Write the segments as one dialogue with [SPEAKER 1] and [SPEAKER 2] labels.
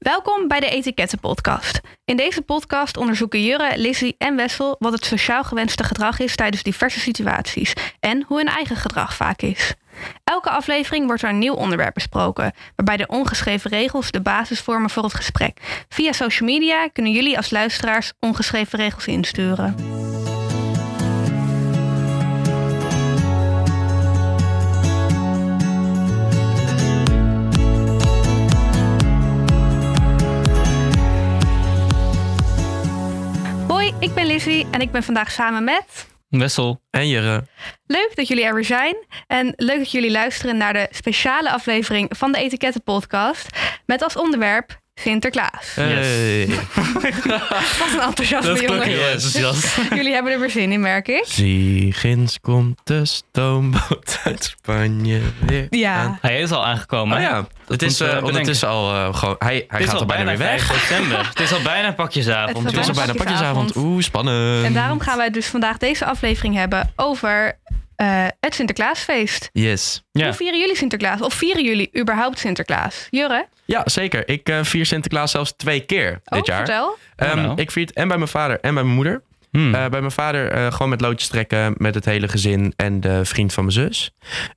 [SPEAKER 1] Welkom bij de Etikettenpodcast. In deze podcast onderzoeken Jurre, Lizzie en Wessel wat het sociaal gewenste gedrag is tijdens diverse situaties en hoe hun eigen gedrag vaak is. Elke aflevering wordt er een nieuw onderwerp besproken, waarbij de ongeschreven regels de basis vormen voor het gesprek. Via social media kunnen jullie als luisteraars ongeschreven regels insturen. Hoi, ik ben Lizzie en ik ben vandaag samen met.
[SPEAKER 2] Wessel en Jere.
[SPEAKER 1] Leuk dat jullie er weer zijn. En leuk dat jullie luisteren naar de speciale aflevering van de Etikettenpodcast. Met als onderwerp Sinterklaas.
[SPEAKER 2] Hey.
[SPEAKER 1] Wat een enthousiasme,
[SPEAKER 2] Dat
[SPEAKER 1] jongen.
[SPEAKER 2] klonk heel enthousiast.
[SPEAKER 1] Jullie hebben er weer zin in, merk ik.
[SPEAKER 3] Zie, ginds komt de stoomboot uit Spanje weer
[SPEAKER 1] Ja.
[SPEAKER 3] aan.
[SPEAKER 2] Hij is al aangekomen.
[SPEAKER 3] Oh
[SPEAKER 2] hè?
[SPEAKER 3] ja, het
[SPEAKER 2] moeten we
[SPEAKER 3] is eh,
[SPEAKER 2] bedenken.
[SPEAKER 3] ondertussen al eh, gewoon... Hij, hij
[SPEAKER 2] Het is
[SPEAKER 3] gaat
[SPEAKER 2] al
[SPEAKER 3] er bijna weer weg.
[SPEAKER 2] 5 december. het is al bijna
[SPEAKER 1] Het
[SPEAKER 2] pakjesavond.
[SPEAKER 1] is
[SPEAKER 3] Het is al bijna
[SPEAKER 1] pakjesavond.
[SPEAKER 3] pakjesavond. Oeh, spannend.
[SPEAKER 1] En daarom gaan wij dus vandaag deze aflevering hebben over eh, het Sinterklaasfeest.
[SPEAKER 3] Yes.
[SPEAKER 2] Ja.
[SPEAKER 1] Hoe vieren jullie Sinterklaas? Of vieren jullie überhaupt Sinterklaas? Jurre,
[SPEAKER 3] Ja, zeker. Ik eh, vier Sinterklaas zelfs twee keer
[SPEAKER 1] oh,
[SPEAKER 3] dit jaar.
[SPEAKER 1] vertel.
[SPEAKER 3] Ehm,
[SPEAKER 2] Oh, nou.
[SPEAKER 3] Ik vier het en bij mijn vader en bij mijn moeder.
[SPEAKER 2] Hmm.
[SPEAKER 3] Eh, bij mijn vader eh, gewoon met loodjes trekken met het hele gezin en de vriend van mijn zus.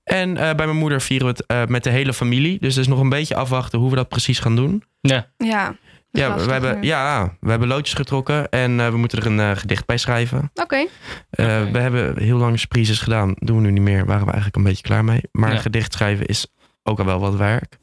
[SPEAKER 3] En eh, bij mijn moeder vieren we het eh, met de hele familie. Dus het is nog een beetje afwachten hoe we dat precies gaan doen.
[SPEAKER 2] ja.
[SPEAKER 1] Ja, dat is
[SPEAKER 3] Ja,
[SPEAKER 1] lastig
[SPEAKER 3] we hebben,
[SPEAKER 1] nu.
[SPEAKER 3] ja, we hebben loodjes getrokken en eh, we moeten er een eh, gedicht bij schrijven.
[SPEAKER 1] Oké,
[SPEAKER 3] Eh,
[SPEAKER 2] Oké.
[SPEAKER 3] We hebben heel lang surprises gedaan. Doen we nu niet meer. Waren we eigenlijk een beetje klaar mee. Maar
[SPEAKER 2] Ja.
[SPEAKER 3] een gedicht schrijven is ook al wel wat werk.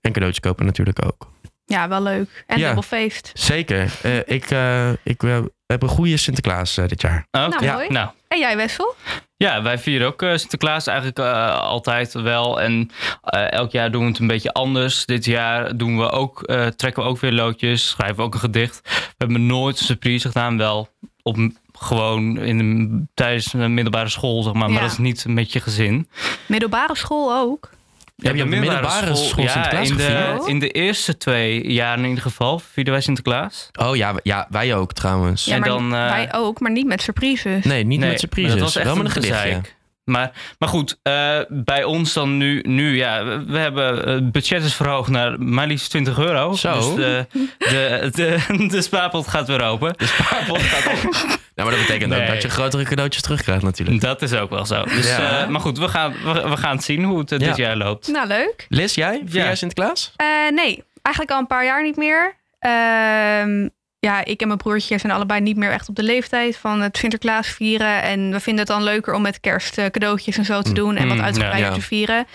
[SPEAKER 3] En cadeautjes kopen natuurlijk ook.
[SPEAKER 1] ja, wel leuk. En
[SPEAKER 3] Ja.
[SPEAKER 1] dubbel feest.
[SPEAKER 3] Zeker. Eh, ik eh, ik eh, heb een goede Sinterklaas eh, dit jaar.
[SPEAKER 2] Ah, oké.
[SPEAKER 1] Nou,
[SPEAKER 3] Ja.
[SPEAKER 1] mooi.
[SPEAKER 2] Nou,
[SPEAKER 1] En jij, Wessel?
[SPEAKER 2] ja, wij vieren ook eh, Sinterklaas eigenlijk eh, altijd wel. En eh, elk jaar doen we het een beetje anders. Dit jaar doen we ook, eh, trekken we ook weer loodjes, schrijven we ook een gedicht. We hebben nooit een surprise gedaan, wel op, gewoon in de, tijdens een middelbare school, zeg maar.
[SPEAKER 1] Ja.
[SPEAKER 2] Maar dat is niet met je gezin.
[SPEAKER 1] Middelbare school ook.
[SPEAKER 3] Heb je op de middelbare school
[SPEAKER 2] ja,
[SPEAKER 3] Sinterklaas
[SPEAKER 2] in de,
[SPEAKER 1] gevierd?
[SPEAKER 2] in de eerste twee jaar in ieder geval vierden wij Sinterklaas.
[SPEAKER 3] Oh ja, w- ja wij ook trouwens.
[SPEAKER 1] Ja,
[SPEAKER 2] En
[SPEAKER 1] maar
[SPEAKER 2] dan, eh,
[SPEAKER 1] wij ook, maar niet met surprises.
[SPEAKER 3] Nee, niet met
[SPEAKER 2] maar
[SPEAKER 3] surprises.
[SPEAKER 2] Dat was echt
[SPEAKER 3] wel met
[SPEAKER 2] een
[SPEAKER 3] een gedichtje.
[SPEAKER 2] gezeik. Maar, maar goed, eh, bij ons dan nu, nu ja, we- we hebben eh, het budget is verhoogd naar maar liefst 20 euro.
[SPEAKER 3] Zo.
[SPEAKER 2] Dus de, de, de, de spaarpot gaat weer open. De spaarpot gaat open.
[SPEAKER 3] Nou, maar dat betekent
[SPEAKER 2] Nee.
[SPEAKER 3] ook dat je grotere cadeautjes terugkrijgt natuurlijk.
[SPEAKER 2] Dat is ook wel zo. Dus,
[SPEAKER 3] Ja.
[SPEAKER 2] eh, maar goed, we gaan, we, we gaan het zien hoe het eh, dit
[SPEAKER 3] Ja.
[SPEAKER 2] jaar loopt.
[SPEAKER 1] Nou, leuk.
[SPEAKER 3] Liz, jij? Vier
[SPEAKER 2] Ja.
[SPEAKER 3] jaar Sinterklaas?
[SPEAKER 1] Eh, nee, eigenlijk al een paar jaar niet meer. Ehm, ja, ik en mijn broertje zijn allebei niet meer echt op de leeftijd van het Sinterklaas vieren. En we vinden het dan leuker om met kerst eh, cadeautjes en zo te
[SPEAKER 3] Mm.
[SPEAKER 1] doen. En wat
[SPEAKER 2] Mm,
[SPEAKER 1] uitgebreider
[SPEAKER 3] ja.
[SPEAKER 1] te vieren.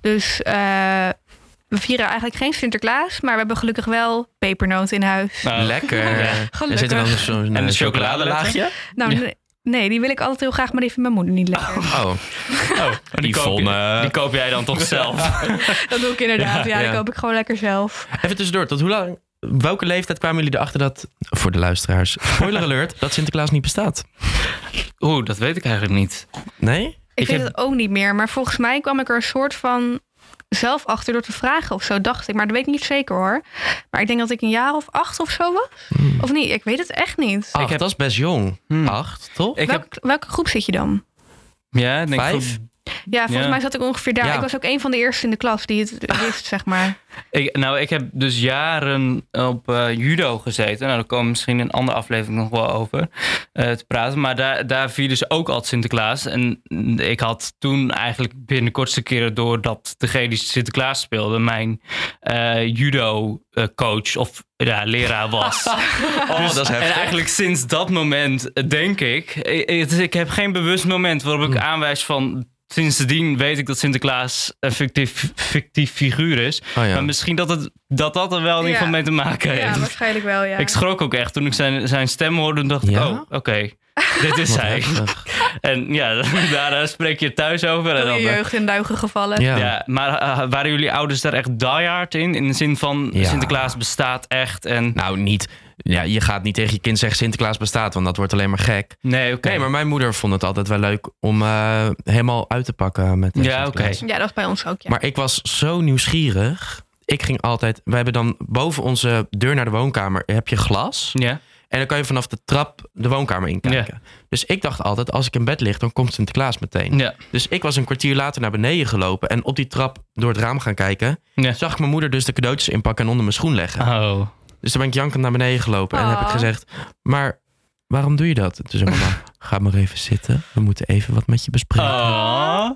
[SPEAKER 1] Dus eh, we vieren eigenlijk geen Sinterklaas. Maar we hebben gelukkig wel pepernoten in huis.
[SPEAKER 2] Nou, Ja.
[SPEAKER 3] Lekker. Er zit er dan zo'n
[SPEAKER 2] En
[SPEAKER 3] eh,
[SPEAKER 2] de
[SPEAKER 3] chocoladelaagje.
[SPEAKER 1] Nou,
[SPEAKER 2] ja.
[SPEAKER 1] nee, nee, die wil ik altijd heel graag. Maar die vindt mijn moeder niet lekker.
[SPEAKER 3] Oh,
[SPEAKER 2] oh, die, koop je,
[SPEAKER 3] Yvonne.
[SPEAKER 2] die koop jij dan toch zelf?
[SPEAKER 1] Dat doe ik inderdaad. Ja,
[SPEAKER 3] Ja,
[SPEAKER 1] die
[SPEAKER 3] ja.
[SPEAKER 1] koop ik gewoon lekker zelf.
[SPEAKER 3] Oh. Even tussendoor, tot hoe lang, welke leeftijd kwamen jullie erachter dat, voor de luisteraars, spoiler alert, dat Sinterklaas niet bestaat?
[SPEAKER 2] Oeh, dat weet ik eigenlijk niet.
[SPEAKER 3] Nee?
[SPEAKER 1] Ik,
[SPEAKER 2] Ik
[SPEAKER 1] weet
[SPEAKER 2] heb-
[SPEAKER 1] het ook niet meer. Maar volgens mij kwam ik er een soort van zelf achter door te vragen of zo, dacht ik. Maar dat weet ik niet zeker hoor. Maar ik denk dat ik een jaar of acht of zo was.
[SPEAKER 2] Hmm.
[SPEAKER 1] Of niet? Ik weet het echt niet.
[SPEAKER 3] Acht,
[SPEAKER 2] heb-
[SPEAKER 3] dat is best jong.
[SPEAKER 2] Hmm.
[SPEAKER 3] Acht, toch?
[SPEAKER 2] Ah, Ik
[SPEAKER 1] Welk-
[SPEAKER 2] heb,
[SPEAKER 1] Welke groep zit je dan?
[SPEAKER 2] ja, ik denk
[SPEAKER 3] Vijf?
[SPEAKER 2] goed,
[SPEAKER 1] Ja, volgens
[SPEAKER 2] Ja.
[SPEAKER 1] mij zat ik ongeveer daar.
[SPEAKER 3] Ja.
[SPEAKER 1] Ik was ook een van de eerste in de klas die het wist, zeg maar.
[SPEAKER 2] Ik, nou, ik heb dus jaren op eh, judo gezeten. Nou, daar komen we misschien in een andere aflevering nog wel over eh, te praten. Maar daar, daar vierden ze ook altijd Sinterklaas. En ik had toen eigenlijk binnen de kortste keren door dat degene die Sinterklaas speelde, mijn eh, judo-coach of ja, leraar was. Dus
[SPEAKER 3] Oh, dat is
[SPEAKER 2] En eigenlijk sinds dat moment eh, denk ik, eh, het is- ik heb geen bewust moment waarop ik aanwijs van sindsdien weet ik dat Sinterklaas een fictief, fictief figuur is.
[SPEAKER 3] Oh ja.
[SPEAKER 2] Maar misschien dat, het, dat dat er wel in ieder geval
[SPEAKER 1] Ja.
[SPEAKER 2] mee te maken heeft.
[SPEAKER 1] waarschijnlijk wel, ja.
[SPEAKER 2] Ik schrok ook echt toen ik zijn, zijn stem hoorde. dacht ik,
[SPEAKER 3] Ja?
[SPEAKER 2] oh, oké, dit is
[SPEAKER 3] Wat
[SPEAKER 2] hij.
[SPEAKER 3] heftig.
[SPEAKER 2] En ja, daar eh, spreek je thuis over. En dan, eh,
[SPEAKER 1] jeugd in duigen gevallen.
[SPEAKER 3] Ja.
[SPEAKER 2] ja, maar eh, waren jullie ouders daar echt diehard in? In de zin van
[SPEAKER 3] Ja.
[SPEAKER 2] Sinterklaas bestaat echt en...
[SPEAKER 3] Nou, niet, ja, je gaat niet tegen je kind zeggen Sinterklaas bestaat, want dat wordt alleen maar gek.
[SPEAKER 2] Nee, oké.
[SPEAKER 3] Nee, maar mijn moeder vond het altijd wel leuk om eh, helemaal uit te pakken met eh,
[SPEAKER 2] Ja,
[SPEAKER 3] Sinterklaas.
[SPEAKER 2] oké.
[SPEAKER 1] Ja, dat was bij ons ook, ja.
[SPEAKER 3] Maar ik was zo nieuwsgierig. Ik ging altijd, we hebben dan boven onze deur naar de woonkamer, heb je glas.
[SPEAKER 2] Ja,
[SPEAKER 3] En dan kan je vanaf de trap de woonkamer inkijken. Dus ik dacht altijd, als ik in bed lig, dan komt Sinterklaas meteen.
[SPEAKER 2] Ja.
[SPEAKER 3] Dus ik was een kwartier later naar beneden gelopen en op die trap door het raam gaan kijken.
[SPEAKER 2] Ja.
[SPEAKER 3] Zag ik mijn moeder dus de cadeautjes inpakken en onder mijn schoen leggen.
[SPEAKER 2] Oh.
[SPEAKER 3] Dus toen ben ik jankend naar beneden gelopen en heb ik
[SPEAKER 1] Ah.
[SPEAKER 3] gezegd, maar waarom doe je dat? En toen zei mama, ga maar even zitten. We moeten even wat met je bespreken.
[SPEAKER 2] Oh.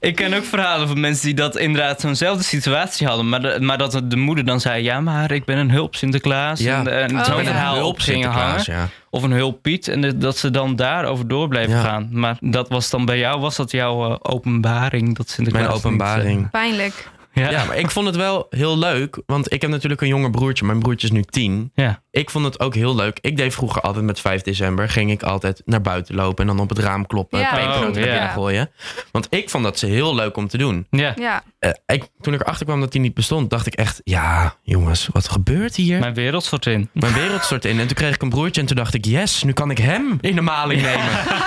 [SPEAKER 2] Ik ken ook verhalen van mensen die dat inderdaad zo'nzelfde situatie hadden. Maar, de- maar dat de, moeder dan zei: Ja, maar ik ben een hulp Sinterklaas.
[SPEAKER 3] Ja.
[SPEAKER 2] En, en
[SPEAKER 1] Oh,
[SPEAKER 2] zo'n
[SPEAKER 1] ja.
[SPEAKER 2] verhaal
[SPEAKER 3] Hulp
[SPEAKER 2] op gingen
[SPEAKER 3] Sinterklaas,
[SPEAKER 2] hangen.
[SPEAKER 3] ja.
[SPEAKER 2] Of een hulp Piet. En de- dat ze dan daarover door bleven
[SPEAKER 3] Ja.
[SPEAKER 2] gaan. Maar dat was dan bij jou, was dat jouw eh, openbaring? Dat Sinterklaas
[SPEAKER 3] Mijn
[SPEAKER 2] niet,
[SPEAKER 3] openbaring.
[SPEAKER 1] Pijnlijk.
[SPEAKER 2] eh, ja.
[SPEAKER 3] Ja, maar ik vond het wel heel leuk. Want ik heb natuurlijk een jonger broertje. Mijn broertje is nu tien.
[SPEAKER 2] Ja.
[SPEAKER 3] Ik vond het ook heel leuk. Ik deed vroeger altijd met 5 december. Ging ik altijd naar buiten lopen. En dan op het raam kloppen.
[SPEAKER 1] Ja.
[SPEAKER 3] pepernoten
[SPEAKER 2] Oh,
[SPEAKER 3] naar binnen
[SPEAKER 1] ja.
[SPEAKER 3] gooien. Want ik vond dat ze heel leuk om te doen.
[SPEAKER 2] Ja.
[SPEAKER 1] Ja.
[SPEAKER 3] Eh, ik, toen ik erachter kwam dat die niet bestond. Dacht ik echt. Ja jongens, wat gebeurt hier?
[SPEAKER 2] Mijn wereld stort in.
[SPEAKER 3] Mijn wereld stort in. En toen kreeg ik een broertje. En toen dacht ik. Yes, nu kan ik hem in de maling nemen.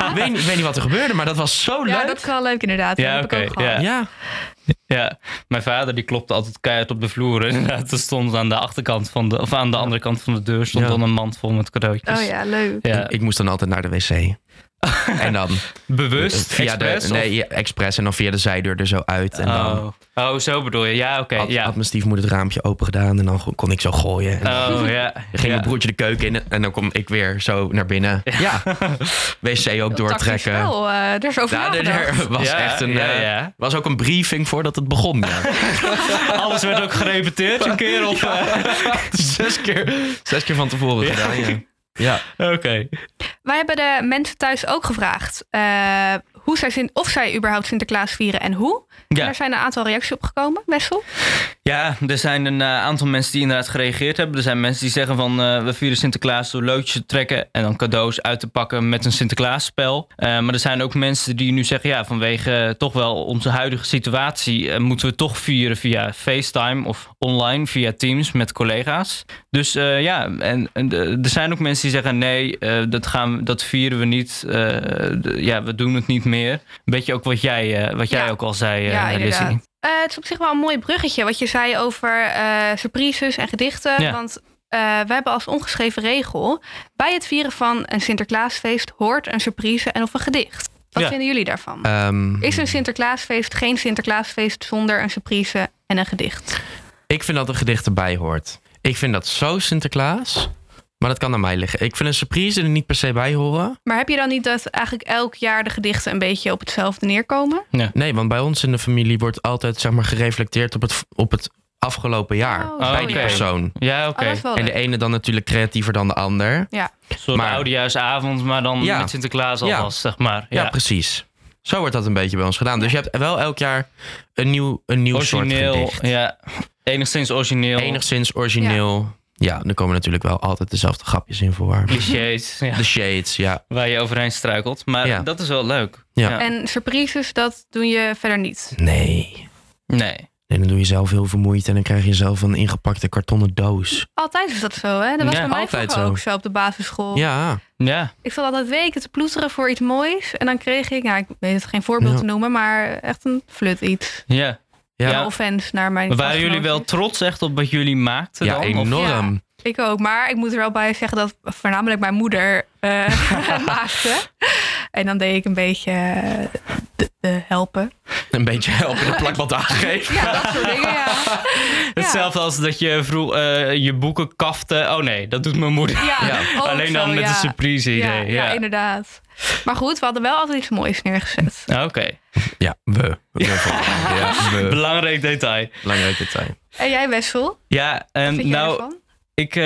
[SPEAKER 3] Ik weet, niet- ik weet niet wat er gebeurde. Maar dat was zo
[SPEAKER 1] ja,
[SPEAKER 3] Oh, leuk.
[SPEAKER 1] dat is wel leuk inderdaad.
[SPEAKER 2] Ja,
[SPEAKER 1] dat heb ik
[SPEAKER 2] oké,
[SPEAKER 1] ook gehad.
[SPEAKER 2] ja.
[SPEAKER 3] Ja.
[SPEAKER 2] Ja, mijn vader die klopte altijd keihard op de vloer. En Inderdaad, er stond aan de achterkant van de, of aan de andere kant van de deur stond
[SPEAKER 3] Ja.
[SPEAKER 2] dan een mand vol met cadeautjes.
[SPEAKER 1] Oh ja, leuk.
[SPEAKER 2] Ja.
[SPEAKER 3] Ik moest dan altijd naar de wc. en dan
[SPEAKER 2] Bewust,
[SPEAKER 3] Eh, via
[SPEAKER 2] expres,
[SPEAKER 3] de,
[SPEAKER 2] of-
[SPEAKER 3] nee, ja, expres en dan via de zijdeur er zo uit. En dan
[SPEAKER 2] Oh. oh, zo bedoel je. Ja, oké.
[SPEAKER 3] had,
[SPEAKER 2] ja.
[SPEAKER 3] had mijn stiefmoeder het raampje open gedaan en dan go- kon ik zo gooien. En dan
[SPEAKER 2] Oh, ja.
[SPEAKER 3] ging
[SPEAKER 2] ja.
[SPEAKER 3] mijn broertje de keuken in en dan kom ik weer zo naar binnen. Ja, wc ook
[SPEAKER 1] Tactisch
[SPEAKER 3] doortrekken.
[SPEAKER 1] spel, eh, er is over
[SPEAKER 3] Ja, er-
[SPEAKER 1] nagedacht.
[SPEAKER 3] er was
[SPEAKER 2] Ja,
[SPEAKER 3] echt een,
[SPEAKER 2] ja,
[SPEAKER 3] eh,
[SPEAKER 2] ja.
[SPEAKER 3] was ook een briefing voordat het begon. Ja.
[SPEAKER 2] Alles werd ook gerepeteerd een keer of... eh,
[SPEAKER 3] zes, keer, zes keer van tevoren
[SPEAKER 2] Ja.
[SPEAKER 3] gedaan. Ja. Ja.
[SPEAKER 2] Oké.
[SPEAKER 1] Wij hebben de mensen thuis ook gevraagd eh, hoe zij Sint- of zij überhaupt Sinterklaas vieren en hoe. En
[SPEAKER 2] Ja.
[SPEAKER 1] er zijn een aantal reacties op gekomen, Wessel.
[SPEAKER 2] Ja, er zijn een eh, aantal mensen die inderdaad gereageerd hebben. Er zijn mensen die zeggen van eh, we vieren Sinterklaas door loodjes te trekken en dan cadeaus uit te pakken met een Sinterklaasspel. Eh maar er zijn ook mensen die nu zeggen ja, vanwege eh, toch wel onze huidige situatie eh, moeten we toch vieren via FaceTime of online via Teams met collega's. Dus eh, ja, en, en, eh, er zijn ook mensen die zeggen nee, eh, dat, gaan, we- dat vieren we niet. Eh, d- ja, we doen het niet meer. Een beetje ook wat jij, eh, wat jij
[SPEAKER 1] Ja.
[SPEAKER 2] ook al zei, eh,
[SPEAKER 1] Ja,
[SPEAKER 2] Lizzie.
[SPEAKER 1] inderdaad. Eh, het is op zich wel een mooi bruggetje wat je zei over eh, surprises en gedichten.
[SPEAKER 2] Ja.
[SPEAKER 1] Want eh, we hebben als ongeschreven regel... bij het vieren van een Sinterklaasfeest hoort een surprise en of een gedicht. Wat
[SPEAKER 2] Ja. Eh,
[SPEAKER 1] vinden jullie daarvan?
[SPEAKER 3] Ehm,
[SPEAKER 1] Is een Sinterklaasfeest geen Sinterklaasfeest zonder een surprise en een gedicht?
[SPEAKER 3] Ik vind dat een gedicht erbij hoort. Ik vind dat zo Sinterklaas, maar dat kan aan mij liggen. Ik vind een surprise er niet per se bij horen.
[SPEAKER 1] Maar heb je dan niet dat eigenlijk elk jaar de gedichten een beetje op hetzelfde neerkomen?
[SPEAKER 3] Nee, want bij ons in de familie wordt altijd zeg maar, gereflecteerd op het, op het afgelopen jaar.
[SPEAKER 1] Oh,
[SPEAKER 3] bij
[SPEAKER 2] zo,
[SPEAKER 3] die
[SPEAKER 2] ja.
[SPEAKER 3] persoon.
[SPEAKER 2] Ja, oké.
[SPEAKER 1] Oh, dat is wel
[SPEAKER 3] En de
[SPEAKER 1] leuk.
[SPEAKER 3] ene dan natuurlijk creatiever dan de ander. Ja,
[SPEAKER 2] Een soort
[SPEAKER 3] Maar-
[SPEAKER 2] oudejaarsavond, maar dan
[SPEAKER 3] Ja.
[SPEAKER 2] met Sinterklaas
[SPEAKER 3] Ja.
[SPEAKER 2] alvast, zeg maar. Ja,
[SPEAKER 3] precies. Zo wordt dat een beetje bij ons gedaan. Dus je hebt wel elk jaar een nieuw, een nieuw soort
[SPEAKER 2] origineel.
[SPEAKER 3] gedicht.
[SPEAKER 2] Ja, enigszins origineel.
[SPEAKER 3] Enigszins origineel. Ja, er komen natuurlijk wel altijd dezelfde grapjes in voor.
[SPEAKER 2] clichés ja,
[SPEAKER 3] De shades, ja.
[SPEAKER 2] waar je overheen struikelt. Maar
[SPEAKER 3] Ja.
[SPEAKER 2] dat is wel leuk.
[SPEAKER 3] Ja.
[SPEAKER 1] En surprises, dat doe je verder niet.
[SPEAKER 3] Nee.
[SPEAKER 2] Nee.
[SPEAKER 3] Nee, dan doe je zelf heel vermoeid en dan krijg je zelf een ingepakte kartonnen doos.
[SPEAKER 1] Altijd is dat zo, hè? Dat was
[SPEAKER 2] Ja,
[SPEAKER 1] bij mij
[SPEAKER 3] altijd
[SPEAKER 1] vroeger ook
[SPEAKER 3] zo.
[SPEAKER 1] zo op de basisschool.
[SPEAKER 3] Ja,
[SPEAKER 2] Ja,
[SPEAKER 1] Ik zat altijd weken te ploeteren voor iets moois. En dan kreeg ik, nou, ik weet het geen voorbeeld
[SPEAKER 3] Ja.
[SPEAKER 1] te noemen, maar echt een flut iets.
[SPEAKER 2] ja.
[SPEAKER 3] ja.
[SPEAKER 1] Ja. Offense naar mijn.
[SPEAKER 2] Maar waren jullie wel
[SPEAKER 1] klasgenoten.
[SPEAKER 2] trots echt op wat jullie maakten
[SPEAKER 3] ja
[SPEAKER 2] dan? Of-
[SPEAKER 3] enorm.
[SPEAKER 1] Ik ook, maar ik moet er wel bij zeggen dat voornamelijk mijn moeder eh maakte. En dan deed ik een beetje eh, de, de helpen.
[SPEAKER 3] Een beetje helpen en een plakband aangeven.
[SPEAKER 1] Ja, dat soort dingen, ja.
[SPEAKER 2] Hetzelfde als dat je vroeg eh, je boeken kafte. Oh nee, dat doet mijn moeder.
[SPEAKER 1] Ja, ook
[SPEAKER 2] Alleen dan
[SPEAKER 1] Oh, zo,
[SPEAKER 2] met
[SPEAKER 1] ja.
[SPEAKER 2] een surprise idee.
[SPEAKER 1] Ja,
[SPEAKER 2] Ja,
[SPEAKER 1] ja, inderdaad. Maar goed, we hadden wel altijd iets moois neergezet.
[SPEAKER 2] Oké,
[SPEAKER 3] Ja, we. we ja, we.
[SPEAKER 2] belangrijk detail.
[SPEAKER 3] Belangrijk detail.
[SPEAKER 1] En jij, Wessel?
[SPEAKER 2] Ja, en
[SPEAKER 1] Vind jij
[SPEAKER 2] nou,
[SPEAKER 1] ervan?
[SPEAKER 2] Ik, eh,